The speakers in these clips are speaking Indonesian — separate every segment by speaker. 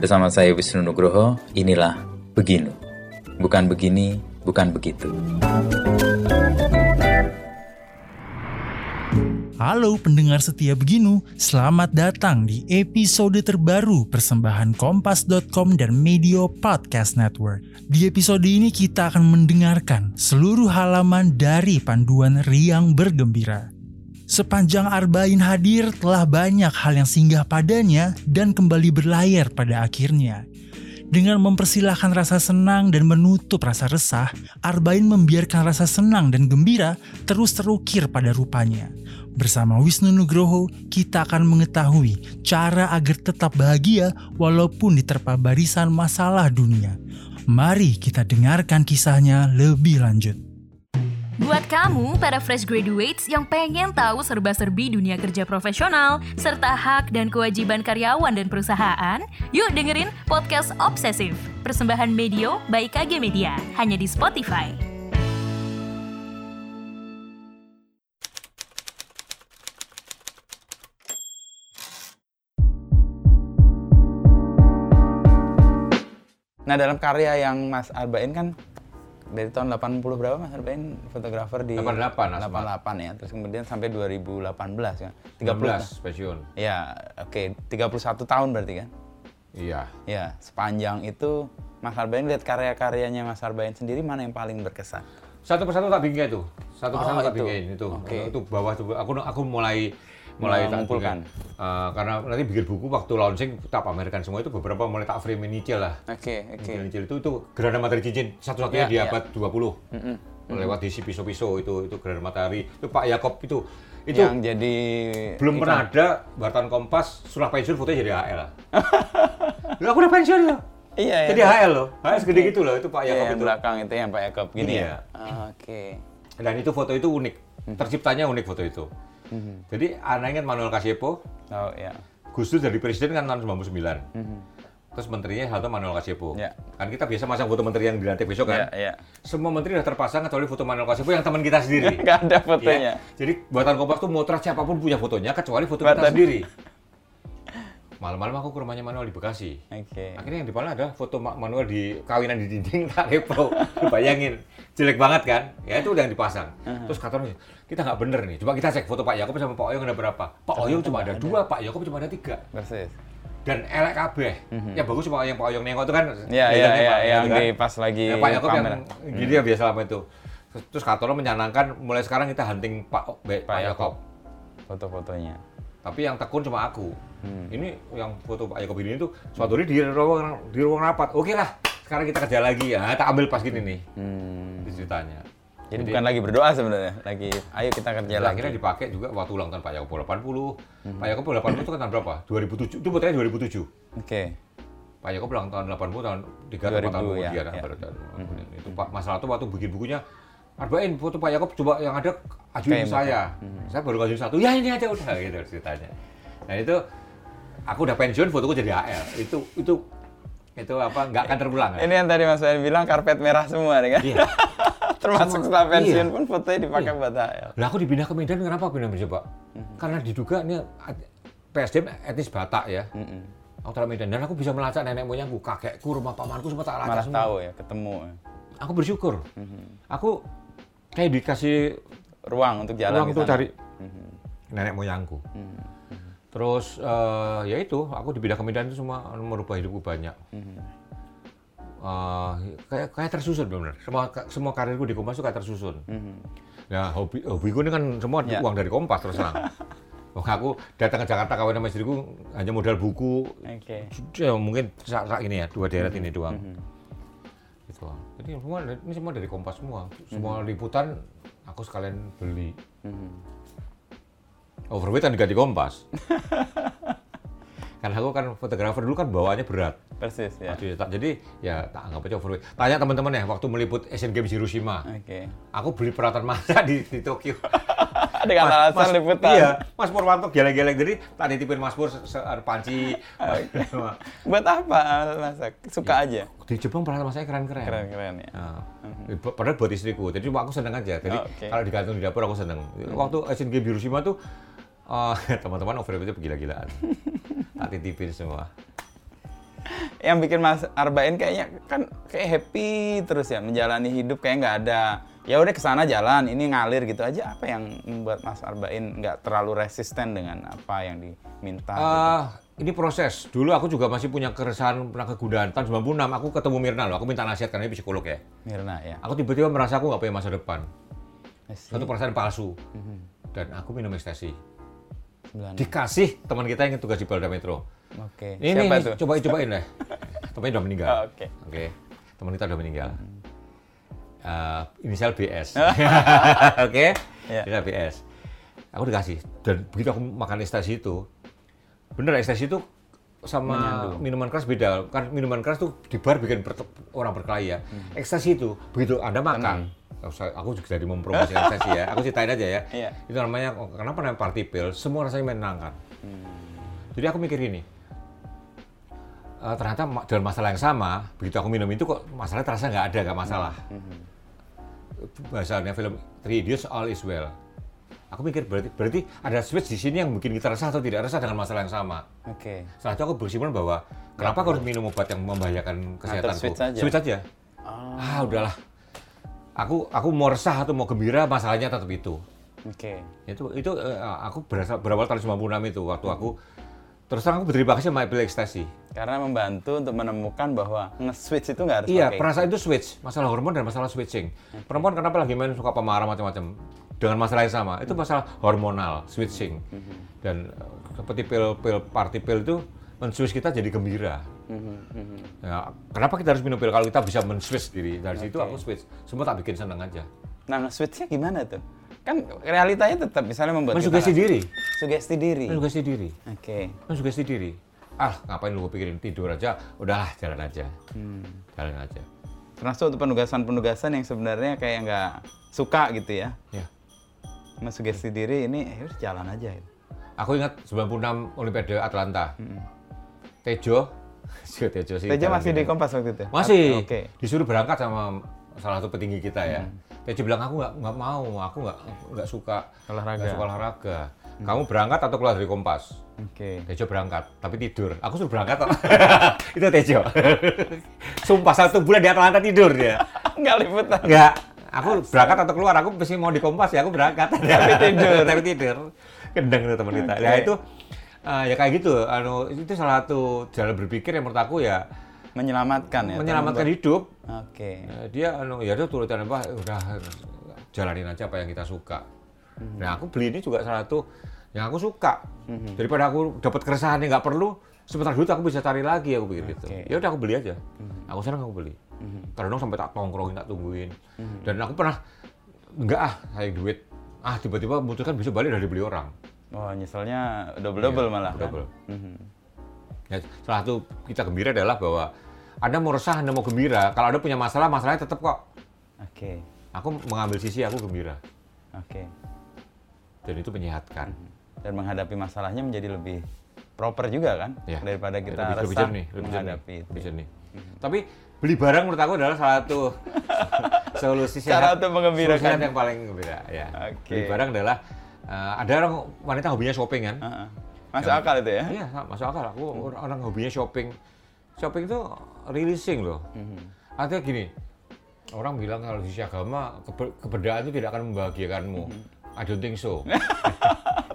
Speaker 1: Bersama saya Wisnu Nugroho, inilah Beginu. Bukan begini, bukan begitu.
Speaker 2: Halo pendengar setia Beginu, selamat datang di episode terbaru persembahan Kompas.com dan Medio Podcast Network. Di episode ini kita akan mendengarkan seluruh halaman dari panduan Riang Bergembira. Sepanjang Arbain hadir telah banyak hal yang singgah padanya dan kembali berlayar pada akhirnya. Dengan mempersilahkan rasa senang dan menutup rasa resah, Arbain membiarkan rasa senang dan gembira terus terukir pada rupanya. Bersama Wisnu Nugroho, kita akan mengetahui cara agar tetap bahagia walaupun diterpa barisan masalah dunia. Mari kita dengarkan kisahnya lebih lanjut.
Speaker 3: Buat kamu, para fresh graduates yang pengen tahu serba-serbi dunia kerja profesional, serta hak dan kewajiban karyawan dan perusahaan, yuk dengerin Podcast Obsesif, persembahan Medio by KG Media, hanya di Spotify.
Speaker 4: Nah dalam karya yang Mas Arbain kan dari tahun 80 berapa Mas Arbain fotografer di
Speaker 5: 88, Asma.
Speaker 4: 88 ya terus kemudian sampai 2018 kan 30
Speaker 5: 13 pensiun.
Speaker 4: ya oke 31 tahun berarti kan
Speaker 5: Iya.
Speaker 4: ya sepanjang itu Mas Arbain lihat karya-karyanya Mas Arbain sendiri mana yang paling berkesan
Speaker 5: Satu persatu tak bingkai itu.
Speaker 4: Oh,
Speaker 5: Satu persatu tak
Speaker 4: itu.
Speaker 5: bingkai itu.
Speaker 4: Oke.
Speaker 5: Itu bawah tuh. Aku aku mulai mulai tak
Speaker 4: Mengumpulkan.
Speaker 5: bingkai. Eh, karena nanti bikin buku waktu launching tak pamerkan semua itu beberapa mulai tak frame nyicil lah.
Speaker 4: oke oke
Speaker 5: Nyicil itu itu gerhana matahari cincin satu-satunya
Speaker 4: Ya,
Speaker 5: di
Speaker 4: ya.
Speaker 5: abad 20. Lewat diisi pisau-pisau itu itu gerhana matahari. Itu Pak Yakob itu itu
Speaker 4: yang jadi
Speaker 5: belum
Speaker 4: Iya.
Speaker 5: pernah ada wartawan Kompas setelah pensiun fotonya jadi HL. Loh, aku udah pensiun loh.
Speaker 4: Iya, iya.
Speaker 5: Jadi HL loh. HL segede gitu loh itu Pak
Speaker 4: ya,
Speaker 5: Yakob
Speaker 4: yang
Speaker 5: itu.
Speaker 4: belakang itu yang Pak Yakob gini ya
Speaker 5: Iya.
Speaker 4: Ah, oke
Speaker 5: Dan itu foto itu unik.
Speaker 4: Mhm.
Speaker 5: Terciptanya unik foto itu. Jadi anak ingat Manuel Kasepo,
Speaker 4: oh ya
Speaker 5: Gus Dur jadi presiden kan tahun 99. Terus menterinya satu Manuel Kasepo.
Speaker 4: Mhm. Iya.
Speaker 5: Kan kita biasa masang foto menteri yang dilantik besok
Speaker 4: ya
Speaker 5: kan.
Speaker 4: ya
Speaker 5: Semua menteri udah terpasang kecuali foto Manuel Kasepo yang teman kita sendiri.
Speaker 4: nggak ada
Speaker 5: Iya.
Speaker 4: fotonya
Speaker 5: Jadi buatan kompas tuh motret siapapun punya fotonya kecuali foto kita
Speaker 4: Buatan.
Speaker 5: sendiri. Malam-malam aku ke rumahnya Manuel di Bekasi.
Speaker 4: oke
Speaker 5: Akhirnya yang dipalang ada foto Ma- Manuel di kawinan di dinding tak repo. Lu Bayangin, jelek banget kan? Ya itu udah yang dipasang. Terus kata orang, kita nggak bener nih. Coba kita cek foto Pak Yakob sama Pak Oyong ada berapa? Pak Oyong cuma ada dua, Pak Yakob cuma ada tiga.
Speaker 4: persis
Speaker 5: Dan elek kabeh.
Speaker 4: Mhm.
Speaker 5: Ya bagus cuma yang Pak Oyong nengok itu kan.
Speaker 4: Iya, iya,
Speaker 5: bedanya
Speaker 4: iya,
Speaker 5: Pak Oyong
Speaker 4: yang
Speaker 5: itu kan.
Speaker 4: di pas lagi Mhm.
Speaker 5: Ya, Pak Yakob yang
Speaker 4: pameran.
Speaker 5: gini ya biasa lama itu. Terus, terus Katoro mencanangkan mulai sekarang kita hunting Pak Pak,
Speaker 4: Pak Yakob.
Speaker 5: Yakob.
Speaker 4: foto-fotonya.
Speaker 5: Tapi yang tekun cuma aku.
Speaker 4: Hmm.
Speaker 5: Ini yang foto Pak Yakob ini tuh suatu hari di ruang di ruang rapat. Oke lah, sekarang kita kerja lagi ya. Tak ambil pas gini nih.
Speaker 4: Hmm.
Speaker 5: Itu ceritanya.
Speaker 4: Jadi, bukan lagi berdoa sebenarnya, lagi ayo kita kerja
Speaker 5: Dan
Speaker 4: lagi.
Speaker 5: akhirnya dipakai juga waktu ulang tahun Pak Yakob 80.
Speaker 4: Hmm.
Speaker 5: Pak Yakob 80 itu kan tahun berapa? 2007. Itu fotonya 2007.
Speaker 4: Oke.
Speaker 5: Pak Yakob ulang tahun 80 tahun 3 atau 4 tahun
Speaker 4: 2000 ya,
Speaker 5: kemudian nah,
Speaker 4: ya.
Speaker 5: baru tahun 80. Itu Pak masalah itu waktu bikin bukunya Arbain foto Pak Yakob coba yang ada
Speaker 4: Kayak
Speaker 5: ajuin
Speaker 4: Hmm.
Speaker 5: saya. Hmm. Saya baru ngajuin satu. Ya ini aja udah gitu ceritanya. Nah itu aku udah pensiun fotoku jadi AL. Itu itu itu apa nggak akan terulang. ya.
Speaker 4: Ini yang tadi Mas Ben bilang karpet merah semua nih kan.
Speaker 5: Iya.
Speaker 4: Termasuk
Speaker 5: Semua.
Speaker 4: setelah pensiun
Speaker 5: Iya.
Speaker 4: pun fotonya dipakai
Speaker 5: Iya.
Speaker 4: buat HL.
Speaker 5: Lah aku dipindah ke Medan kenapa pindah Medan Pak?
Speaker 4: Hmm.
Speaker 5: Karena diduga ini at- PSDM etnis Batak ya.
Speaker 4: Hmm.
Speaker 5: Aku taruh Medan dan aku bisa melacak nenek moyangku, kakekku, rumah pamanku semua tak lacak
Speaker 4: Malah
Speaker 5: semua.
Speaker 4: tahu ya, ketemu ya.
Speaker 5: aku bersyukur.
Speaker 4: Mhm.
Speaker 5: Aku kayak dikasih
Speaker 4: ruang untuk jalan di
Speaker 5: ruang untuk
Speaker 4: sana. Mhm.
Speaker 5: cari nenek moyangku. Terus eh, ya itu, aku dipindah ke Medan itu semua merubah hidupku banyak.
Speaker 4: Mhm.
Speaker 5: Eh, kayak kayak tersusun benar. Semua semua karirku di Kompas itu kayak tersusun. Nah, hobi hobiku ini kan semua
Speaker 4: Mhm. Ya.
Speaker 5: uang dari Kompas terus terang. Wah, aku datang ke Jakarta kawin sama istriku hanya modal buku,
Speaker 4: Oke.
Speaker 5: ya, mungkin saat saat ini ya dua deret ini doang gitu jadi semua dari- ini semua dari kompas semua semua liputan aku sekalian beli overweight kan diganti kompas karena aku kan fotografer dulu kan bawaannya berat
Speaker 4: Persis ya. Oke.
Speaker 5: Aduh, ya, tak- jadi ya tak anggap aja overweight tanya teman-teman ya waktu meliput Asian Games Hiroshima
Speaker 4: Ah, iya.
Speaker 5: aku beli peralatan masak di, di Tokyo
Speaker 4: Dengan alasan liputan.
Speaker 5: iya Mas Purwanto geleng-geleng jadi tak nitipin Mas Pur se- se- panci
Speaker 4: Buat apa alat masak?
Speaker 5: Iya.
Speaker 4: Suka aja.
Speaker 5: di Jepang peralatan masaknya keren-keren.
Speaker 4: Keren-keren ya.
Speaker 5: Nah, b- Padahal buat istriku, jadi cuma aku seneng aja. Jadi
Speaker 4: Oh, oke.
Speaker 5: kalau digantung di dapur aku seneng. Waktu Asian Games di Hiroshima tuh ah, eh, teman-teman overheatnya gila-gilaan. tak titipin semua.
Speaker 4: yang bikin Mas Arbain kayaknya kan kayak happy terus ya menjalani hidup kayak nggak ada ya udah kesana jalan ini ngalir gitu aja apa yang membuat Mas Arbain nggak terlalu resisten dengan apa yang diminta gitu?
Speaker 5: Ah, ini proses. Dulu aku juga masih punya keresahan pernah kegundahan. Tahun 96 aku ketemu Mirna loh. Aku minta nasihat karena dia psikolog ya.
Speaker 4: Mirna ya Eh,
Speaker 5: Aku tiba-tiba merasa aku nggak punya masa depan.
Speaker 4: I see.
Speaker 5: Satu perasaan palsu. Dan aku minum ekstasi.
Speaker 4: Sembilan.
Speaker 5: Dikasih teman kita yang tugas di Polda Metro.
Speaker 4: oke
Speaker 5: Ini,
Speaker 4: siapa
Speaker 5: ini,
Speaker 4: tuh
Speaker 5: cobain cobain deh. Temannya udah meninggal.
Speaker 4: Oh, oke.
Speaker 5: Oke. Teman kita udah meninggal. Eh, inisial BS. Oke.
Speaker 4: Iya.
Speaker 5: Inisial BS. Aku dikasih dan begitu aku makan ekstasi itu, bener ekstasi itu sama minuman keras beda. Kan minuman keras tuh di bar bikin ber- orang berkelahi ya. Ekstasi itu begitu Anda makan. Nggak usah- Aku juga jadi mempromosi ekstasi ya. Aku ceritain aja ya.
Speaker 4: Iya.
Speaker 5: Itu namanya kenapa namanya party pill? Semua rasanya menenangkan. Jadi aku mikir gini, Eh, ternyata ma- dalam masalah yang sama, begitu aku minum itu kok masalah terasa nggak ada, nggak masalah. Bahasanya film Three Idiots All Is Well. Aku mikir berarti berarti ada switch di sini yang bikin kita resah atau tidak resah dengan masalah yang sama.
Speaker 4: oke
Speaker 5: Setelah itu aku berkesimpulan bahwa kenapa aku harus minum obat yang membahayakan kesehatanku?
Speaker 4: Nah, switch aja.
Speaker 5: Ah udahlah. Aku aku mau resah atau mau gembira masalahnya tetap itu
Speaker 4: oke
Speaker 5: itu itu eh, aku berasal berawal tahun 96 itu waktu aku terus terang aku berterima kasih sama Apple Ekstasi.
Speaker 4: karena membantu untuk menemukan bahwa nge-switch itu Hmm. nggak harus
Speaker 5: Iya,
Speaker 4: pakai
Speaker 5: perasaan itu switch, masalah hormon dan masalah switching. Perempuan kenapa lagi main suka pemarah macam-macam dengan masalah yang sama.
Speaker 4: Hmm.
Speaker 5: Itu masalah hormonal, switching. Dan eh, seperti pil-pil party pil itu men-switch kita jadi gembira.
Speaker 4: Hmm,
Speaker 5: Ya, kenapa kita harus minum pil kalau kita bisa men-switch diri? Dari situ aku switch. Semua tak bikin seneng aja.
Speaker 4: nah nge-switchnya gimana tuh kan realitanya tetap misalnya membuat kita
Speaker 5: Mensugesti diri.
Speaker 4: sugesti diri oke
Speaker 5: Mensugesti diri. Kan sugesti diri. Ah, ngapain lu pikirin tidur aja? Udahlah, jalan aja.
Speaker 4: Hmm.
Speaker 5: Jalan aja.
Speaker 4: termasuk untuk penugasan-penugasan yang sebenarnya kayak nggak suka gitu ya
Speaker 5: Ya.
Speaker 4: mesugesti diri ini eh, udah jalan aja gitu.
Speaker 5: Aku ingat 96 Olimpiade Atlanta. Tejo, si Tejo sih.
Speaker 4: Tejo
Speaker 5: Iya, jalan
Speaker 4: masih di
Speaker 5: gini.
Speaker 4: Kompas waktu itu?
Speaker 5: Masih.
Speaker 4: Oke.
Speaker 5: Disuruh berangkat sama salah satu petinggi kita ya. Tejo bilang aku nggak nggak mau, aku nggak nggak suka
Speaker 4: Olahraga. Mm.
Speaker 5: nggak suka olahraga. Kamu berangkat atau keluar dari Kompas?
Speaker 4: Oke.
Speaker 5: Tejo berangkat, tapi tidur. Aku suruh berangkat. itu Tejo. Sumpah satu bulan di Atlanta tidur dia.
Speaker 4: Nggak liputan.
Speaker 5: Enggak. Aku berangkat atau keluar, aku mesti mau di Kompas ya, aku berangkat. Tapi tidur. Tapi tidur. Kendeng itu teman kita. Ya itu, eh, ya kayak gitu. Anu, itu salah satu jalan berpikir yang menurut aku ya,
Speaker 4: Menyelamatkan ya.
Speaker 5: menyelamatkan
Speaker 4: teman-teman.
Speaker 5: hidup.
Speaker 4: Oke.
Speaker 5: Eh, dia anu, ya itu turutan apa, udah jalanin aja apa yang kita suka. Nah aku beli ini juga salah satu yang aku suka. Daripada aku dapat keresahan yang nggak perlu, sebentar dulu aku bisa cari lagi aku pikir gitu.
Speaker 4: Oke.
Speaker 5: Ya udah aku beli aja. Aku senang aku beli. Kadang sampai tak tongkrongin, tak tungguin. Dan aku pernah nggak ah, saya duit. Ah tiba-tiba munculkan besok balik udah dibeli orang.
Speaker 4: Oh, nyeselnya double-double malah. kan?
Speaker 5: Iya, Double.
Speaker 4: Mhm.
Speaker 5: Ya, salah satu kita gembira adalah bahwa Anda mau resah, Anda mau gembira. Kalau Anda punya masalah, masalahnya tetap kok.
Speaker 4: Oke.
Speaker 5: Aku mengambil sisi aku gembira.
Speaker 4: Oke.
Speaker 5: Dan itu menyehatkan.
Speaker 4: Dan menghadapi masalahnya menjadi lebih proper juga kan
Speaker 5: Ya.
Speaker 4: daripada kita
Speaker 5: lebih, lebih
Speaker 4: resah
Speaker 5: jernih, lebih jernih,
Speaker 4: menghadapi itu. ya. Hmm.
Speaker 5: lebih jernih. Tapi beli barang menurut aku adalah salah satu solusi
Speaker 4: Cara
Speaker 5: sehat-
Speaker 4: untuk mengembirakan.
Speaker 5: solusi sehat yang paling gembira ya.
Speaker 4: Oke.
Speaker 5: Beli barang adalah eh, ada orang wanita hobinya shopping kan?
Speaker 4: Heeh. Masuk akal itu ya?
Speaker 5: Iya, masuk akal. Aku
Speaker 4: Hmm.
Speaker 5: orang, orang hobinya shopping. Shopping itu releasing loh.
Speaker 4: Hmm.
Speaker 5: Artinya gini, orang bilang kalau sisi agama kebe- kebedaan itu tidak akan membahagiakanmu. I don't think so.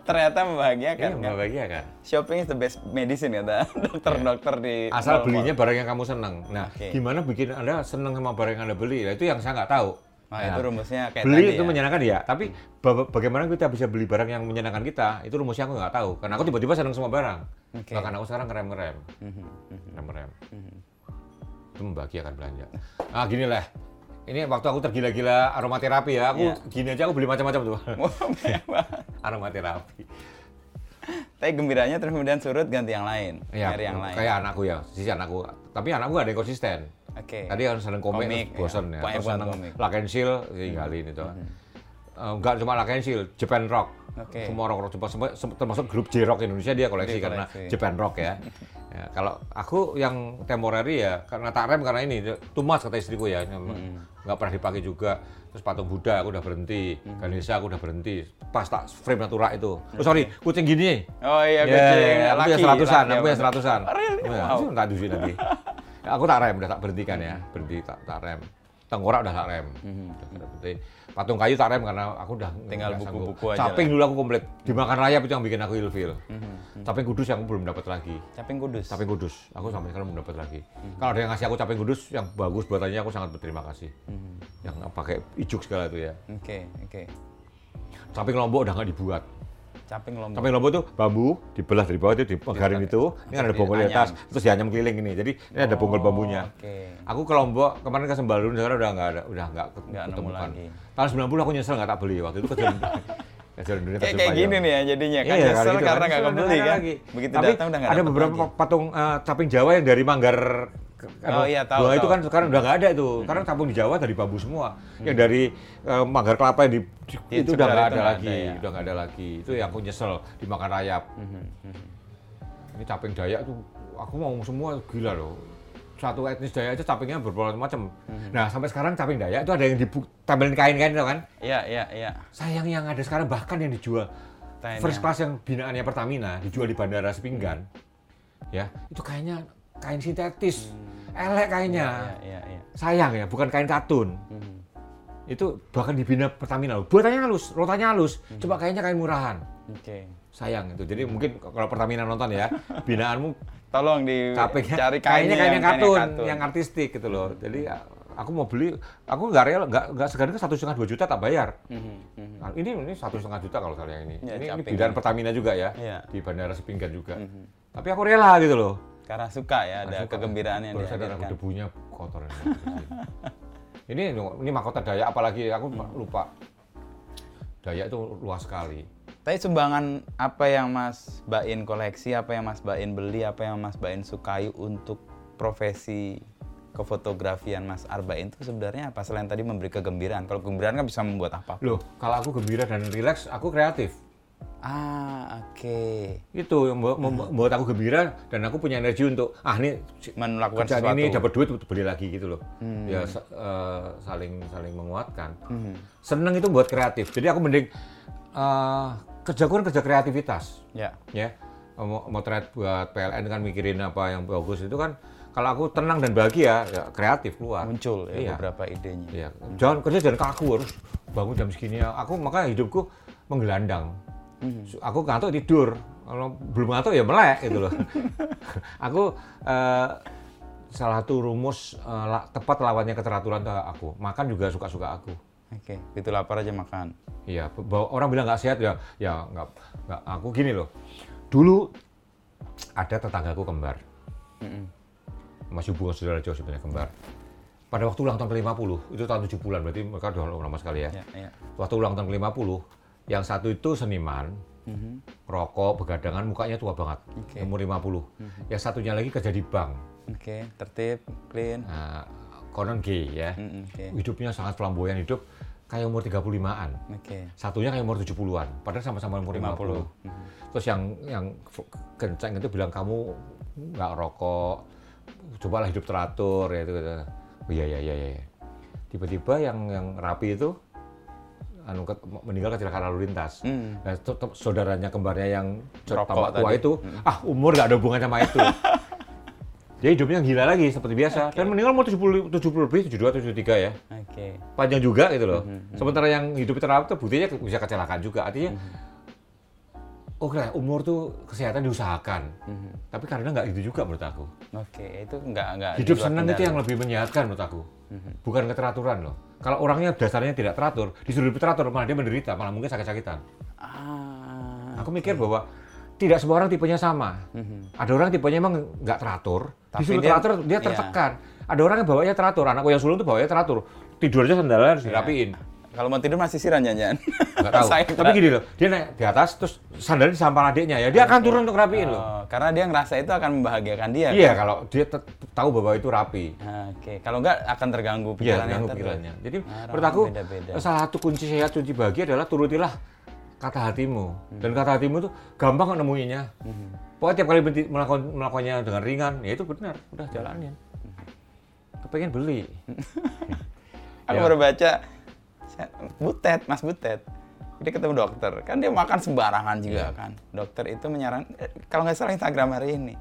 Speaker 4: Ternyata membahagiakan
Speaker 5: Iya,
Speaker 4: Hmm. Iya, kan?
Speaker 5: membahagiakan.
Speaker 4: Shopping is the best medicine kata dokter-dokter di mall-mall.
Speaker 5: asal belinya barang yang kamu senang. Nah,
Speaker 4: Oke.
Speaker 5: gimana bikin anda senang sama barang yang anda beli? Nah, itu yang saya nggak tahu.
Speaker 4: Nah,
Speaker 5: Nah,
Speaker 4: itu rumusnya kayak
Speaker 5: beli
Speaker 4: tadi
Speaker 5: itu
Speaker 4: ya.
Speaker 5: menyenangkan ya, tapi ba- bagaimana kita bisa beli barang yang menyenangkan kita? Itu rumusnya aku nggak tahu. Karena aku tiba-tiba senang semua barang.
Speaker 4: Oke. Mhm,
Speaker 5: Bahkan aku sekarang ngerem ngerem, ngerem ngerem. Itu membahagiakan belanja. Ah gini lah. Ini waktu aku tergila-gila aromaterapi
Speaker 4: Iya.
Speaker 5: ya, aku gini aja aku beli macam-macam tuh. Iya. aromaterapi.
Speaker 4: Tapi gembiranya terus kemudian surut ganti yang lain, nyari yang lain.
Speaker 5: Iya, kayak anakku ya, sisi anakku. Tapi anakku nggak ada yang konsisten.
Speaker 4: Oke.
Speaker 5: Tadi kan seneng komik,
Speaker 4: Komik,
Speaker 5: terus bosen
Speaker 4: ya.
Speaker 5: ya.
Speaker 4: Banyak
Speaker 5: Terus
Speaker 4: banget
Speaker 5: seneng
Speaker 4: komik.
Speaker 5: Lakensil, tinggalin itu. Eh, enggak cuma Lakensil, Japan Rock.
Speaker 4: Oke.
Speaker 5: Semua rock rock Jepang, semua- sem- termasuk grup J Rock Indonesia dia koleksi
Speaker 4: Dia
Speaker 5: karena
Speaker 4: koleksi.
Speaker 5: Japan Rock ya. Ya, kalau aku yang temporary ya karena tak rem karena ini tumas kata istriku ya nggak pernah dipakai juga terus patung Buddha aku udah berhenti Ganesha aku udah berhenti pas tak frame satu rak itu oh sorry kucing gini
Speaker 4: Oh iya,
Speaker 5: Ya,
Speaker 4: kucing.
Speaker 5: aku punya
Speaker 4: Laki,
Speaker 5: seratusan,
Speaker 4: laki
Speaker 5: aku punya
Speaker 4: apa?
Speaker 5: seratusan.
Speaker 4: Oh, really?
Speaker 5: Ya,
Speaker 4: Wow.
Speaker 5: aku tak dusin nanti. aku tak rem, udah tak berhentikan ya, berhenti tak, tak rem. Tengkorak udah tak rem. Udah tak berhenti. Patung kayu tak rem karena aku udah
Speaker 4: Mhm. Tinggal
Speaker 5: nggak sanggup.
Speaker 4: buku-buku aja Mhm.
Speaker 5: Caping dulu aku komplit. Dimakan rayap itu yang bikin aku ilfil. Caping kudus yang aku belum dapat lagi.
Speaker 4: Caping Kudus.
Speaker 5: Caping kudus, aku sampai sekarang belum dapat lagi.
Speaker 4: Mhm.
Speaker 5: Kalau ada yang ngasih aku caping kudus yang bagus buatannya aku sangat berterima kasih.
Speaker 4: Mhm.
Speaker 5: Yang pakai ijuk segala itu ya.
Speaker 4: Oke, oke.
Speaker 5: Caping lombok udah nggak dibuat.
Speaker 4: Caping lombok.
Speaker 5: Caping Hmm. lombok tuh bambu dibelah dari bawah itu dipenggarin
Speaker 4: ya.
Speaker 5: itu, ini kan ada bonggol di
Speaker 4: Dianyam.
Speaker 5: atas, terus dianyam keliling ini. Jadi ini ada bonggol bambunya.
Speaker 4: Oh, Oke.
Speaker 5: Aku ke Lombok kemarin ke Sembalun sekarang udah nggak ada, udah nggak ke-
Speaker 4: Nggak nemu
Speaker 5: ketemukan.
Speaker 4: lagi.
Speaker 5: Tahun 90 aku nyesel nggak tak beli waktu itu kejuaraan kejuaraan dunia
Speaker 4: Kayak
Speaker 5: Taslim
Speaker 4: kayak
Speaker 5: Payung.
Speaker 4: gini nih ya jadinya kan
Speaker 5: Iya,
Speaker 4: nyesel
Speaker 5: gitu kan.
Speaker 4: karena nggak
Speaker 5: Nyesel
Speaker 4: kebeli
Speaker 5: ada
Speaker 4: kan.
Speaker 5: lagi.
Speaker 4: Begitu
Speaker 5: Tapi
Speaker 4: datang udah nggak
Speaker 5: ada
Speaker 4: dapet
Speaker 5: beberapa
Speaker 4: lagi.
Speaker 5: patung eh, caping Jawa yang dari Manggar ke-
Speaker 4: Oh,
Speaker 5: ke-
Speaker 4: iya, tahu,
Speaker 5: Wah, itu
Speaker 4: tahu.
Speaker 5: kan sekarang udah nggak ada itu. Karena kampung di Jawa dari bambu semua. Yang dari eh, Manggar Kelapa yang di,
Speaker 4: Di
Speaker 5: itu udah
Speaker 4: sekitar Iya, itu
Speaker 5: nggak ada
Speaker 4: nggak
Speaker 5: lagi,
Speaker 4: ada ya. Mm-hmm,
Speaker 5: udah nggak ada lagi. Itu yang aku nyesel dimakan rayap. Ini caping Dayak tuh aku mau semua gila loh. Satu etnis Dayak aja capingnya bermacam-macam.
Speaker 4: Mm-hmm.
Speaker 5: Nah, sampai sekarang caping Dayak itu ada yang ditambelin kain-kain itu kan.
Speaker 4: Iya, iya, iya.
Speaker 5: Sayang yang ada sekarang bahkan yang dijual
Speaker 4: Tanya.
Speaker 5: first class yang binaannya Pertamina dijual di bandara Sepinggan.
Speaker 4: Hmm.
Speaker 5: Ya, itu kayaknya kain sintetis. Elek kayaknya.
Speaker 4: Iya, iya, iya.
Speaker 5: Sayang ya, bukan kain katun.
Speaker 4: Hmm.
Speaker 5: Itu bahkan dibina Pertamina. loh. Buatannya halus, rotanya halus.
Speaker 4: Hmm.
Speaker 5: Coba kayaknya kain murahan.
Speaker 4: Oke.
Speaker 5: Sayang itu. Jadi mungkin kalau Pertamina nonton ya, binaanmu
Speaker 4: Tolong dicari
Speaker 5: capeknya
Speaker 4: cari kainnya Hmm.
Speaker 5: kainnya kain yang katun,
Speaker 4: kainnya
Speaker 5: yang artistik gitu loh. Jadi aku mau beli, aku nggak rela, nggak nggak segan ke satu setengah dua juta tak bayar.
Speaker 4: Mhm, mhm.
Speaker 5: Nah, ini ini satu setengah juta kalau salah yang ini.
Speaker 4: Ya,
Speaker 5: ini, ini
Speaker 4: capek
Speaker 5: bidan
Speaker 4: ini.
Speaker 5: Pertamina juga ya,
Speaker 4: Iya.
Speaker 5: di bandara Sepinggan juga. Tapi aku rela gitu loh.
Speaker 4: Karena suka ya ada
Speaker 5: Masuk,
Speaker 4: kegembiraan yang
Speaker 5: baru sadar aku
Speaker 4: dihadirkan.
Speaker 5: debunya kotor ini. ini ini mahkota Dayak apalagi aku
Speaker 4: Hmm.
Speaker 5: lupa. Dayak itu luas sekali.
Speaker 4: Tapi sumbangan apa yang Mas Bain koleksi, apa yang Mas Bain beli, apa yang Mas Bain sukai untuk profesi kefotografian Mas Arbain itu sebenarnya apa selain tadi memberi kegembiraan? Kalau kegembiraan kan bisa membuat apa?
Speaker 5: Loh, kalau aku gembira dan rileks, aku kreatif.
Speaker 4: Ah, oke.
Speaker 5: itu yang memba- memba-
Speaker 4: Hmm.
Speaker 5: membuat aku gembira dan aku punya energi untuk ah ini si-
Speaker 4: Melakukan
Speaker 5: kerjaan
Speaker 4: sesuatu. Hmm.
Speaker 5: ini dapat duit beli lagi gitu loh ya sa- eh, saling saling menguatkan seneng itu buat kreatif jadi aku mending eh, kerjaku kan kerja kreativitas
Speaker 4: Ya.
Speaker 5: ya Mau- motret buat PLN kan mikirin apa yang bagus itu kan kalau aku tenang dan bahagia ya kreatif keluar
Speaker 4: Muncul ya
Speaker 5: Iya.
Speaker 4: beberapa idenya.
Speaker 5: Iya, jangan kerja jangan kaku harus bangun jam segini. Aku makanya hidupku menggelandang. Su- Aku ngantuk tidur. Kalau belum ngantuk ya melek gitu loh. aku eh, salah satu rumus eh, la- tepat lawannya keteraturan tuh aku. Makan juga suka-suka aku.
Speaker 4: Oke, itu lapar aja makan.
Speaker 5: Iya, be- bahwa orang bilang nggak sehat ya, ya nggak, nggak. Aku gini loh. Dulu ada tetanggaku kembar, masih hubungan saudara jauh sebenarnya kembar. Pada waktu ulang tahun ke-50, itu tahun 7 bulan, berarti mereka udah lama sekali ya.
Speaker 4: Ya, ya.
Speaker 5: Waktu ulang tahun ke-50, yang satu itu seniman, rokok, begadangan, mukanya tua banget,
Speaker 4: Mm-hmm. Oke. Mm-hmm.
Speaker 5: umur 50. Yang satunya lagi kerja di bank,
Speaker 4: Oke, tertib, clean.
Speaker 5: nah, konon gay ya.
Speaker 4: Mm, Oke.
Speaker 5: Hidupnya sangat flamboyan, hidup kayak umur 35-an.
Speaker 4: Oke.
Speaker 5: Satunya kayak umur 70-an, padahal sama-sama umur 50. Terus yang yang f- kenceng itu bilang kamu nggak rokok, cobalah hidup teratur ya itu. gitu. Oh, Iya iya iya iya. Tiba-tiba yang yang rapi itu anu ke- meninggal kecelakaan lalu lintas.
Speaker 4: Hmm.
Speaker 5: Nah, itu tem- saudaranya kembarnya yang cer-
Speaker 4: Rokok
Speaker 5: tampak tua
Speaker 4: tadi. Hmm.
Speaker 5: itu, ah umur nggak ada hubungan sama itu. Dia hidupnya gila lagi seperti biasa dan meninggal umur 70 70 lebih 72 73 ya
Speaker 4: Oke.
Speaker 5: panjang juga gitu
Speaker 4: Mhm,
Speaker 5: loh. Sementara yang hidup teratur buktinya ke- bisa kecelakaan juga. Artinya
Speaker 4: Mhm.
Speaker 5: oke lah, umur tuh kesehatan diusahakan.
Speaker 4: Mhm.
Speaker 5: Tapi karena nggak itu juga menurut aku.
Speaker 4: Oke, itu enggak enggak
Speaker 5: Hidup
Speaker 4: di luar
Speaker 5: senang itu
Speaker 4: kendali. Mhm.
Speaker 5: yang lebih menyehatkan menurut aku. Bukan keteraturan loh. Kalau orangnya dasarnya tidak teratur, disuruh lebih teratur malah dia menderita, malah mungkin sakit-sakitan.
Speaker 4: Ah.
Speaker 5: Aku mikir bahwa tidak semua orang tipenya sama. Ada orang tipenya emang nggak teratur,
Speaker 4: Mhm. Tapi
Speaker 5: disuruh
Speaker 4: dia-
Speaker 5: teratur dia
Speaker 4: iya.
Speaker 5: tertekan. Ada orang yang bawanya teratur, anakku yang sulung tuh bawanya teratur. Tidur aja sendalnya harus
Speaker 4: Iya.
Speaker 5: dirapiin.
Speaker 4: Kalau mau tidur masih siran jangan.
Speaker 5: Nggak tahu. Tapi gini loh, dia naik di atas terus sandalnya disampal adiknya ya. Dia akan turun untuk rapiin loh.
Speaker 4: Oh, karena dia ngerasa itu akan membahagiakan dia.
Speaker 5: Iya, kalau dia tet- tahu bahwa itu rapi.
Speaker 4: Ah, Oke, kalau enggak akan terganggu
Speaker 5: Iya,
Speaker 4: pikirannya.
Speaker 5: ganggu
Speaker 4: terus.
Speaker 5: pikirannya. Jadi
Speaker 4: Ah, orang
Speaker 5: menurut aku
Speaker 4: beda-beda.
Speaker 5: salah satu kunci sehat, kunci bahagia adalah turutilah kata hatimu. Dan kata hatimu tuh gampang kok nemuinnya. Pokoknya tiap kali berhenti melakukan, melakukannya dengan ringan, ya itu benar, udah jalanin. Kepengen beli.
Speaker 4: Aku
Speaker 5: Ya.
Speaker 4: baru baca saya- Butet, Mas Butet. Dia ketemu dokter, kan dia makan sembarangan
Speaker 5: Iya.
Speaker 4: juga kan. Dokter itu menyarankan, eh, kalau nggak salah Instagram hari ini,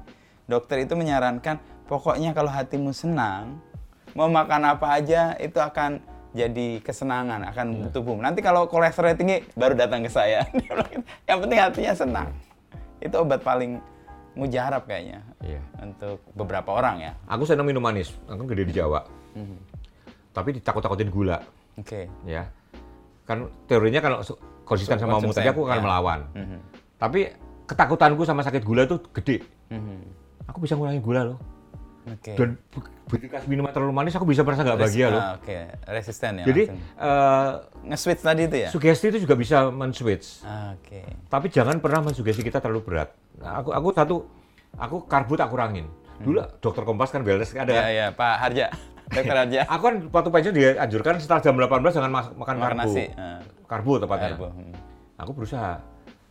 Speaker 4: dokter itu menyarankan Pokoknya kalau hatimu senang, mau makan apa aja itu akan jadi kesenangan
Speaker 5: Iya.
Speaker 4: akan tubuhmu. Nanti kalau kolesterol tinggi baru datang ke saya. Dia bilang gitu. Yang penting hatinya senang. Itu obat paling mujarab kayaknya.
Speaker 5: Iya.
Speaker 4: Untuk beberapa orang ya.
Speaker 5: Aku senang minum manis, aku gede di Jawa. Hmm. Tapi ditakut-takutin gula,
Speaker 4: Oke.
Speaker 5: ya. Kan teorinya kalau su- konsisten sama
Speaker 4: Konsisten,
Speaker 5: mu tadi aku akan
Speaker 4: ya.
Speaker 5: melawan. Tapi ketakutanku sama sakit gula tuh gede. Aku bisa ngurangin gula loh.
Speaker 4: Mhm. Oke.
Speaker 5: Dan be- begitu minuman terlalu manis aku bisa merasa nggak bahagia loh.
Speaker 4: Ah, Oke, resisten ya.
Speaker 5: Jadi
Speaker 4: langsung.
Speaker 5: eh,
Speaker 4: nge-switch tadi itu ya.
Speaker 5: sugesti itu juga bisa men-switch.
Speaker 4: Ah, Oke.
Speaker 5: Tapi jangan pernah mensugesti kita terlalu berat. Nah, aku aku satu aku karbo tak kurangin. Dulu dokter Kompas kan wellness kan ada.
Speaker 4: Hmm. Ya
Speaker 5: kan?
Speaker 4: ya Pak Harja, Dokter Harja.
Speaker 5: Aku kan waktu pensiun dianjurkan setelah jam 18 jangan mas- makan,
Speaker 4: Makan
Speaker 5: karbo.
Speaker 4: nasi. ah,
Speaker 5: Karbo tepatnya.
Speaker 4: karbo. Hmm.
Speaker 5: Aku berusaha.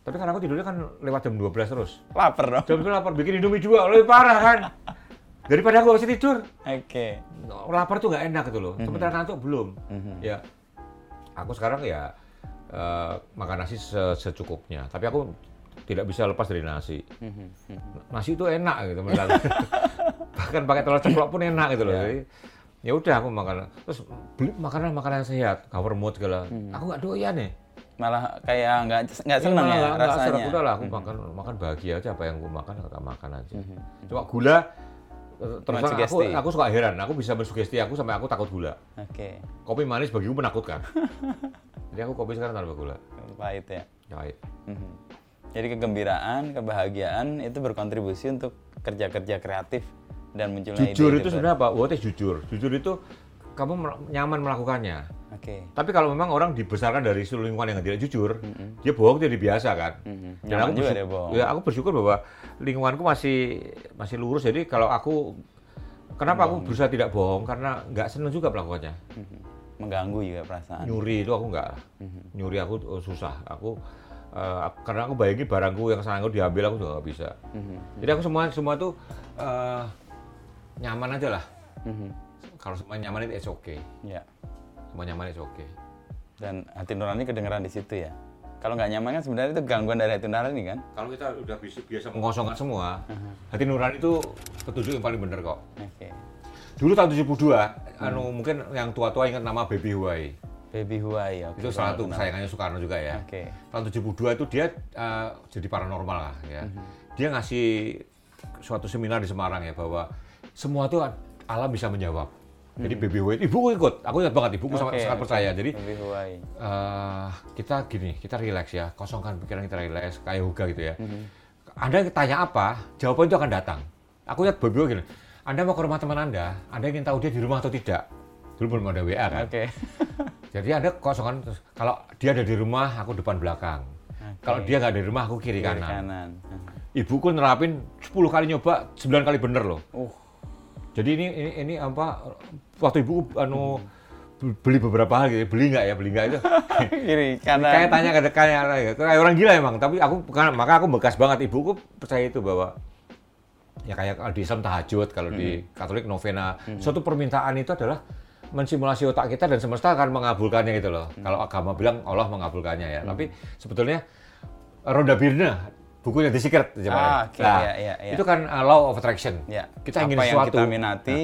Speaker 5: Tapi kan aku tidurnya kan lewat jam 12 terus.
Speaker 4: Lapar dong.
Speaker 5: Jam itu lapar bikin Indomie dua, lebih parah kan. Daripada aku masih tidur.
Speaker 4: Oke.
Speaker 5: lapar tuh nggak enak gitu loh. Sementara ngantuk belum. Ya, aku sekarang ya eh, makan nasi se- secukupnya. Tapi aku tidak bisa lepas dari nasi. Nasi itu enak gitu menurut aku. Bahkan pakai telur ceplok pun enak gitu loh. Jadi ya udah aku makan. Terus beli makanan makanan sehat, cover mood segala. Aku nggak doyan ya.
Speaker 4: Malah kayak nggak nggak seneng
Speaker 5: Iya,
Speaker 4: ya
Speaker 5: nggak- nggak
Speaker 4: rasanya.
Speaker 5: serap. Udah lah, aku makan makan bahagia aja apa yang aku makan aku makan aja. Cuma gula eh, terus terang aku
Speaker 4: Hmm, sugesti.
Speaker 5: aku suka heran, aku bisa mensugesti aku sampai aku takut gula.
Speaker 4: Oke.
Speaker 5: Kopi manis bagiku menakutkan. Jadi aku kopi sekarang tanpa gula.
Speaker 4: Pahit ya.
Speaker 5: Pahit.
Speaker 4: Mhm. Jadi kegembiraan, kebahagiaan itu berkontribusi untuk kerja-kerja kreatif dan munculnya ide-ide
Speaker 5: Jujur itu
Speaker 4: baru.
Speaker 5: sebenarnya apa? What is jujur? Jujur itu kamu mer- nyaman melakukannya.
Speaker 4: Oke.
Speaker 5: Tapi kalau memang orang dibesarkan dari seluruh lingkungan yang tidak jujur, dia bohong itu jadi biasa kan. Dan
Speaker 4: Nyaman
Speaker 5: aku
Speaker 4: juga
Speaker 5: bersyukur,
Speaker 4: dia bohong.
Speaker 5: ya, aku bersyukur bahwa lingkunganku masih masih lurus. Jadi kalau aku kenapa aku berusaha tidak bohong karena nggak seneng juga melakukannya.
Speaker 4: Mhm. Mengganggu juga perasaan.
Speaker 5: Nyuri itu aku nggak. Nyuri aku eh, susah. Aku eh, aku- karena aku bayangin barangku yang sanggup diambil aku juga nggak bisa. Jadi aku semua semua tuh eh, nyaman aja lah.
Speaker 4: Mhm.
Speaker 5: Kalau semua nyaman itu oke. okay.
Speaker 4: Ya.
Speaker 5: Semua nyaman itu oke. Okay.
Speaker 4: Dan hati nurani kedengeran di situ ya. Kalau nggak nyaman kan sebenarnya itu gangguan dari hati nurani kan.
Speaker 5: Kalau kita udah bisa biasa mengosongkan semua, hati nurani itu petunjuk yang paling bener kok.
Speaker 4: Oke.
Speaker 5: Dulu tahun 72, anu mungkin yang tua-tua ingat nama Baby Huai.
Speaker 4: Baby Huai oke.
Speaker 5: Itu salah satu sayangannya Soekarno juga ya.
Speaker 4: Oke.
Speaker 5: Tahun 72 itu dia eh, jadi paranormal lah ya. Dia ngasih suatu seminar di Semarang ya bahwa semua tuh alam bisa menjawab. Jadi Baby Huai, ibuku ikut. Aku ingat banget ibuku sama
Speaker 4: Oke,
Speaker 5: sangat
Speaker 4: oke.
Speaker 5: percaya. Jadi
Speaker 4: Baby Huai.
Speaker 5: eh kita gini, kita relax ya, kosongkan pikiran kita relax, kayak yoga gitu ya. Anda tanya apa, jawaban itu akan datang. Aku lihat Bobi gini, Anda mau ke rumah teman Anda, Anda ingin tahu dia di rumah atau tidak. Dulu belum ada WA kan.
Speaker 4: Oke.
Speaker 5: Jadi Anda kosongkan, terus, kalau dia ada di rumah, aku depan belakang. Kalau dia nggak ada di rumah, aku kiri,
Speaker 4: Kiri
Speaker 5: kanan.
Speaker 4: kanan.
Speaker 5: Ibuku nerapin 10 kali nyoba, 9 kali bener loh.
Speaker 4: Uh.
Speaker 5: Jadi ini ini, ini apa waktu ibu anu beli beberapa hal gitu, beli nggak ya, beli nggak itu.
Speaker 4: Kiri kanan.
Speaker 5: kayak tanya ke kayak kayak orang gila emang tapi aku bukan maka aku bekas banget ibuku percaya itu bahwa ya kayak kalau di Islam tahajud kalau di
Speaker 4: Mhm.
Speaker 5: Katolik novena suatu permintaan itu adalah mensimulasi otak kita dan semesta akan mengabulkannya gitu loh
Speaker 4: Mhm.
Speaker 5: kalau agama bilang Allah mengabulkannya ya tapi sebetulnya Ronda Birna bukunya The Secret
Speaker 4: Ah,
Speaker 5: zaman
Speaker 4: oke, iya, iya, iya.
Speaker 5: itu kan uh, law of attraction
Speaker 4: Ya.
Speaker 5: kita
Speaker 4: apa
Speaker 5: ingin
Speaker 4: yang
Speaker 5: sesuatu Nah.
Speaker 4: kita minati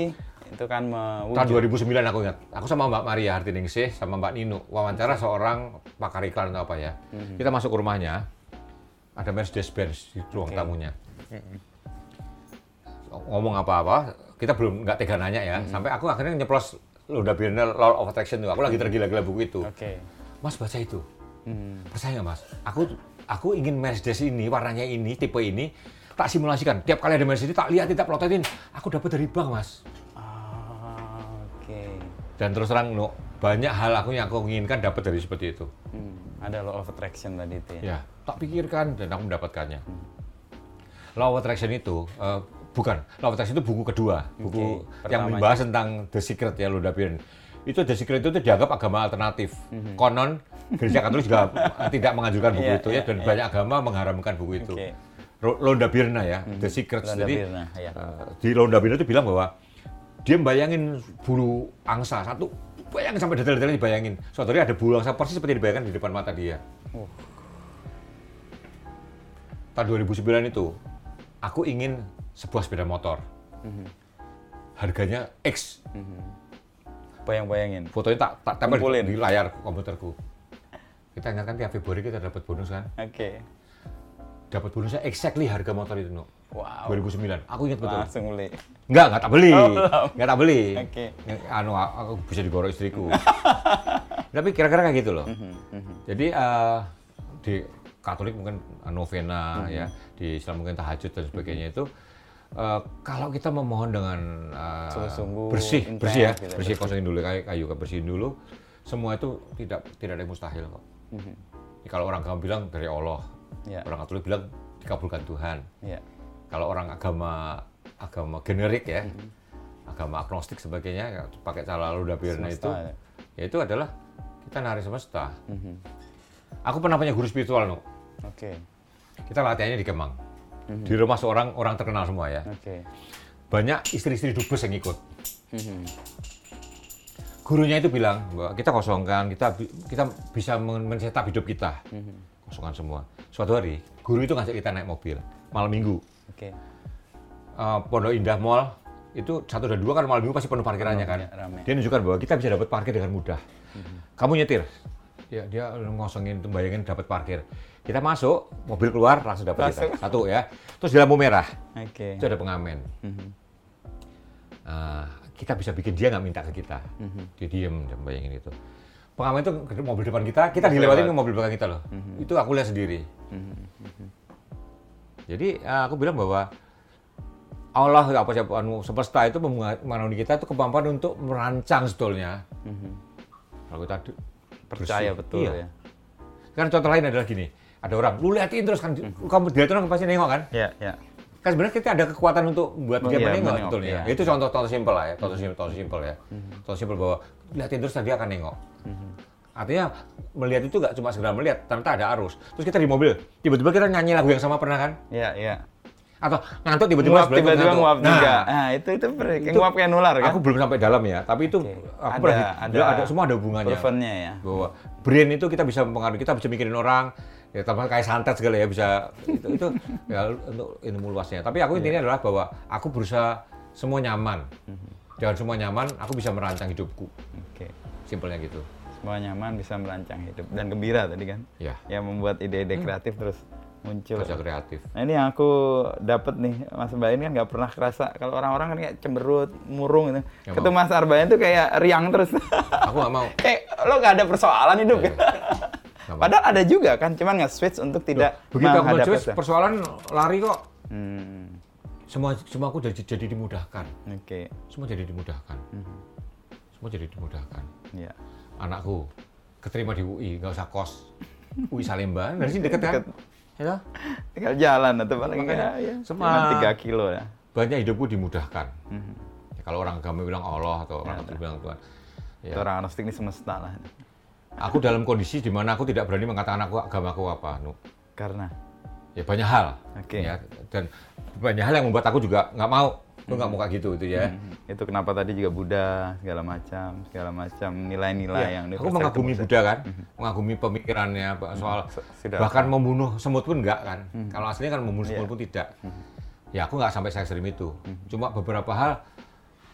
Speaker 4: itu kan mewujud.
Speaker 5: tahun 2009 aku ingat. Aku sama Mbak Maria Hartiningsih sama Mbak Nino wawancara seorang pakar iklan atau apa ya. Kita masuk ke rumahnya. Ada Mercedes Benz di ruang tamunya. Ngomong apa-apa, kita belum nggak tega nanya ya. Sampai aku akhirnya nyeplos Luda Birna Law of Attraction itu. Aku lagi tergila-gila buku itu.
Speaker 4: Oke.
Speaker 5: Mas baca itu. Percaya nggak mas? Aku aku ingin Mercedes ini, warnanya ini, tipe ini, tak simulasikan. Tiap kali ada Mercedes, tak lihat, tak plototin. Aku dapat dari bank mas.
Speaker 4: Ah, Oke.
Speaker 5: dan terus terang Nuk, banyak hal aku yang aku inginkan dapat dari seperti itu
Speaker 4: Hmm, Ada law of attraction tadi itu ya.
Speaker 5: ya tak pikirkan dan aku mendapatkannya law of attraction itu eh, bukan law of attraction itu buku kedua buku
Speaker 4: Oke, pertamanya.
Speaker 5: yang membahas tentang the secret ya Luda Pirin itu the secret itu dianggap agama alternatif konon gereja katolik juga eh, tidak menganjurkan buku
Speaker 4: Mhm. Iya,
Speaker 5: itu ya
Speaker 4: iya,
Speaker 5: dan banyak agama mengharamkan buku itu
Speaker 4: Oke. Mhm.
Speaker 5: Ro- Londa Birna ya, The Secret.
Speaker 4: Londa
Speaker 5: Jadi
Speaker 4: Birna, ya.
Speaker 5: eh, di Londa Birna itu bilang bahwa dia bayangin bulu angsa satu, bayangin sampai detail-detailnya dibayangin. Suatu hari ada bulu angsa persis seperti yang dibayangkan di depan mata dia.
Speaker 4: Oh. Mhm.
Speaker 5: Tahun 2009 itu, aku ingin sebuah sepeda motor. harganya X.
Speaker 4: Hmm. Bayang-bayangin.
Speaker 5: Fotonya tak tak tempel di-
Speaker 4: Kumpulin.
Speaker 5: di layar komputerku. Kita ingatkan tiap Februari kita dapat bonus kan?
Speaker 4: Oke.
Speaker 5: Dapat bonusnya exactly harga motor itu, Nuk.
Speaker 4: Wow.
Speaker 5: 2009. Aku ingat betul.
Speaker 4: Langsung beli.
Speaker 5: Enggak, enggak tak beli.
Speaker 4: Oh, belum.
Speaker 5: Enggak tak beli.
Speaker 4: Oke.
Speaker 5: Yang- Anu, a- aku bisa digorok istriku. Tapi kira-kira kayak gitu loh.
Speaker 4: Mhm,
Speaker 5: Jadi eh, di Katolik mungkin novena
Speaker 4: Mhm.
Speaker 5: ya, di Islam mungkin tahajud dan sebagainya itu eh, kalau kita memohon dengan eh,
Speaker 4: Sungguh-sungguh,
Speaker 5: bersih,
Speaker 4: intens
Speaker 5: bersih ya,
Speaker 4: gitu.
Speaker 5: bersih kosongin dulu kayu, kayu bersihin dulu, semua itu tidak tidak ada yang mustahil kok. Jadi Kalau orang kamu bilang dari Allah,
Speaker 4: Mhm. Ya.
Speaker 5: orang Katolik bilang dikabulkan Tuhan
Speaker 4: Iya.
Speaker 5: kalau orang agama agama generik ya,
Speaker 4: Hmm.
Speaker 5: agama agnostik sebagainya ya, pakai cara lalu dapirna
Speaker 4: Semesta
Speaker 5: itu,
Speaker 4: ya. Hmm.
Speaker 5: ya itu adalah kita narik semesta. Aku pernah punya guru spiritual Nuk.
Speaker 4: Oke.
Speaker 5: Kita latihannya di Kemang,
Speaker 4: Hmm.
Speaker 5: di rumah seorang orang terkenal semua ya.
Speaker 4: Oke.
Speaker 5: Banyak istri-istri dubes yang ikut. Hmm. Gurunya itu bilang bahwa kita kosongkan, kita bi- kita bisa men- mencetak hidup kita,
Speaker 4: Hmm.
Speaker 5: kosongkan semua. Suatu hari guru itu ngajak kita naik mobil malam minggu.
Speaker 4: Oke.
Speaker 5: eh, Pondok Indah Mall itu satu dan dua kan malam minggu pasti penuh parkirannya kan.
Speaker 4: Ramai, ramai.
Speaker 5: Dia menunjukkan bahwa kita bisa dapat parkir dengan mudah. Kamu nyetir, dia, Ya, dia ngosongin, bayangin dapat parkir. Kita masuk, mobil keluar langsung dapat kita. Satu ya. Terus di lampu merah
Speaker 4: Oke. Mhm.
Speaker 5: itu ada pengamen. Eh, kita bisa bikin dia nggak minta ke kita.
Speaker 4: Mhm.
Speaker 5: Dia diem, dia bayangin itu. Pengamen itu ke mobil depan kita, kita dilewatin ke mobil belakang kita loh.
Speaker 4: Mhm.
Speaker 5: Itu aku lihat sendiri. Jadi eh, aku bilang bahwa Allah apa siapa anu, semesta itu memenga- memenuhi kita itu kemampuan untuk merancang sebetulnya. Kalau kita du-
Speaker 4: Mhm. Percaya
Speaker 5: bersih.
Speaker 4: betul
Speaker 5: Iya.
Speaker 4: ya.
Speaker 5: Kan contoh lain adalah gini, ada orang, lu liatin terus kan,
Speaker 4: Mhm.
Speaker 5: kamu dilihat orang pasti nengok kan?
Speaker 4: Iya, iya.
Speaker 5: kan sebenarnya kita ada kekuatan untuk membuat dia
Speaker 4: Iya,
Speaker 5: menengok
Speaker 4: menengok,
Speaker 5: betulnya.
Speaker 4: iya. Hmm.
Speaker 5: Itu contoh-contoh simpel lah ya, contoh simpel, contoh simpel ya. Contoh simpel bahwa lihatin terus nanti dia akan nengok.
Speaker 4: Hmm.
Speaker 5: Artinya melihat itu nggak cuma sekedar melihat, ternyata ada arus. Terus kita di mobil, tiba-tiba kita nyanyi lagu yang sama pernah kan?
Speaker 4: Iya, iya.
Speaker 5: Atau ngantuk tiba-tiba
Speaker 4: Nguap
Speaker 5: sebelah itu
Speaker 4: tiba-tiba
Speaker 5: ngantuk.
Speaker 4: nguap
Speaker 5: Nah,
Speaker 4: juga. Nah, itu itu per- kayak nguap kayak nular kan.
Speaker 5: Aku belum sampai dalam ya, tapi itu aku
Speaker 4: Ada-
Speaker 5: pernah di-
Speaker 4: ada
Speaker 5: bilang ada semua ada hubungannya.
Speaker 4: provennya ya.
Speaker 5: Bahwa brain itu kita bisa mempengaruhi, kita bisa mikirin orang, ya tambah kayak santet segala ya bisa itu itu ya untuk ilmu luasnya. Tapi aku
Speaker 4: Iya.
Speaker 5: intinya adalah bahwa aku berusaha semua nyaman.
Speaker 4: Mhm.
Speaker 5: Jangan semua nyaman, aku bisa merancang hidupku.
Speaker 4: Oke.
Speaker 5: Simpelnya gitu.
Speaker 4: Semua nyaman bisa merancang hidup dan gembira tadi kan.
Speaker 5: Ya,
Speaker 4: Yang membuat ide-ide kreatif terus muncul.
Speaker 5: Hmm. kerja kreatif.
Speaker 4: Nah ini yang aku dapat nih Mas Bain kan nggak pernah kerasa kalau orang-orang kan kayak cemberut, murung gitu.
Speaker 5: Nggak
Speaker 4: Ketemu Mas Arbain tuh kayak riang terus.
Speaker 5: Aku nggak mau.
Speaker 4: kayak lo nggak ada persoalan hidup.
Speaker 5: Iya,
Speaker 4: ya.
Speaker 5: iya. Nggak mau.
Speaker 4: Padahal ada juga kan, cuman nggak switch untuk tidak
Speaker 5: Begitu aku
Speaker 4: menghadap
Speaker 5: mencuit,
Speaker 4: itu.
Speaker 5: persoalan lari kok.
Speaker 4: Hmm,
Speaker 5: Semua semua aku jadi, jadi dimudahkan.
Speaker 4: oke,
Speaker 5: Semua jadi dimudahkan.
Speaker 4: Mhm.
Speaker 5: Semua jadi dimudahkan.
Speaker 4: ya.
Speaker 5: anakku keterima di UI nggak usah kos UI Salemba dari sini deket kan ya
Speaker 4: Tinggal jalan atau paling
Speaker 5: Makanya,
Speaker 4: ya, ya,
Speaker 5: semua-
Speaker 4: cuman tiga kilo ya.
Speaker 5: banyak hidupku dimudahkan Ya, kalau orang agama bilang Allah atau orang Katolik bilang Tuhan ya,
Speaker 4: Itu Orang agnostik ini semesta lah.
Speaker 5: aku dalam kondisi di mana aku tidak berani mengatakan aku agamaku apa nu
Speaker 4: Karena,
Speaker 5: ya banyak hal
Speaker 4: Oke.
Speaker 5: ya dan banyak hal yang membuat aku juga nggak mau lu nggak mau kayak gitu itu ya
Speaker 4: hmm, itu kenapa tadi juga Buddha segala macam, segala macam nilai-nilai
Speaker 5: Ya,
Speaker 4: yang
Speaker 5: aku
Speaker 4: universal
Speaker 5: mengagumi
Speaker 4: itu Hmm.
Speaker 5: Buddha kan, mengagumi pemikirannya Pak, soal
Speaker 4: Se- tidak. Hmm. Iya.
Speaker 5: bahkan membunuh semut pun enggak kan. Kalau aslinya kan membunuh semut pun tidak. Ya aku nggak sampai saya ekstrim itu.
Speaker 4: Hmm.
Speaker 5: Cuma beberapa hal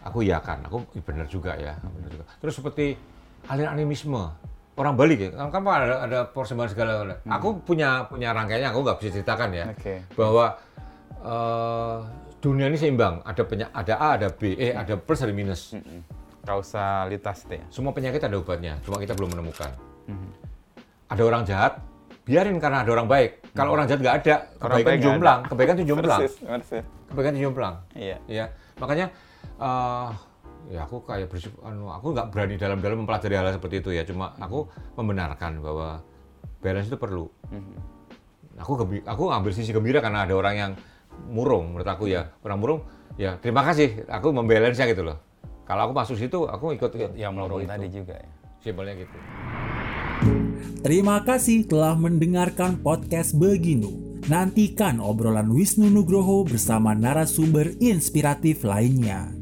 Speaker 5: aku iya kan, aku "Ih, benar juga ya,
Speaker 4: Hmm.
Speaker 5: benar juga. Terus seperti aliran animisme orang Bali ya, kan kan ada, ada persembahan segala. Aku punya punya rangkaiannya, aku nggak bisa ceritakan ya,
Speaker 4: Hmm. Oke.
Speaker 5: bahwa eh, dunia ini seimbang, ada penya, ada A, ada B, eh ada plus, ada minus.
Speaker 4: kausalitas itu ya.
Speaker 5: Semua penyakit ada obatnya, cuma kita belum menemukan.
Speaker 4: Mhm.
Speaker 5: Ada orang jahat, biarin karena ada orang baik. Kalau orang jahat nggak ada,
Speaker 4: Mhm. Orang
Speaker 5: kebaikan
Speaker 4: baik nggak
Speaker 5: jomplang,
Speaker 4: ada.
Speaker 5: kebaikan itu jomplang,
Speaker 4: Persis, persis.
Speaker 5: kebaikan itu jomplang.
Speaker 4: Iya.
Speaker 5: Ya, makanya eh, ya aku kayak bersyukur, anu, aku nggak berani dalam-dalam mempelajari hal seperti itu ya. Cuma
Speaker 4: Mhm.
Speaker 5: aku membenarkan bahwa balance itu perlu.
Speaker 4: Mhm.
Speaker 5: Aku gembi- aku ngambil sisi gembira karena ada orang yang murung menurut aku ya
Speaker 4: Mhm.
Speaker 5: orang murung ya terima kasih aku membalance gitu loh kalau aku masuk situ aku ikut
Speaker 4: Ya murung
Speaker 5: itu.
Speaker 4: tadi juga ya.
Speaker 5: Simpelnya gitu.
Speaker 2: Terima kasih telah mendengarkan podcast Beginu. Nantikan obrolan Wisnu Nugroho bersama narasumber inspiratif lainnya.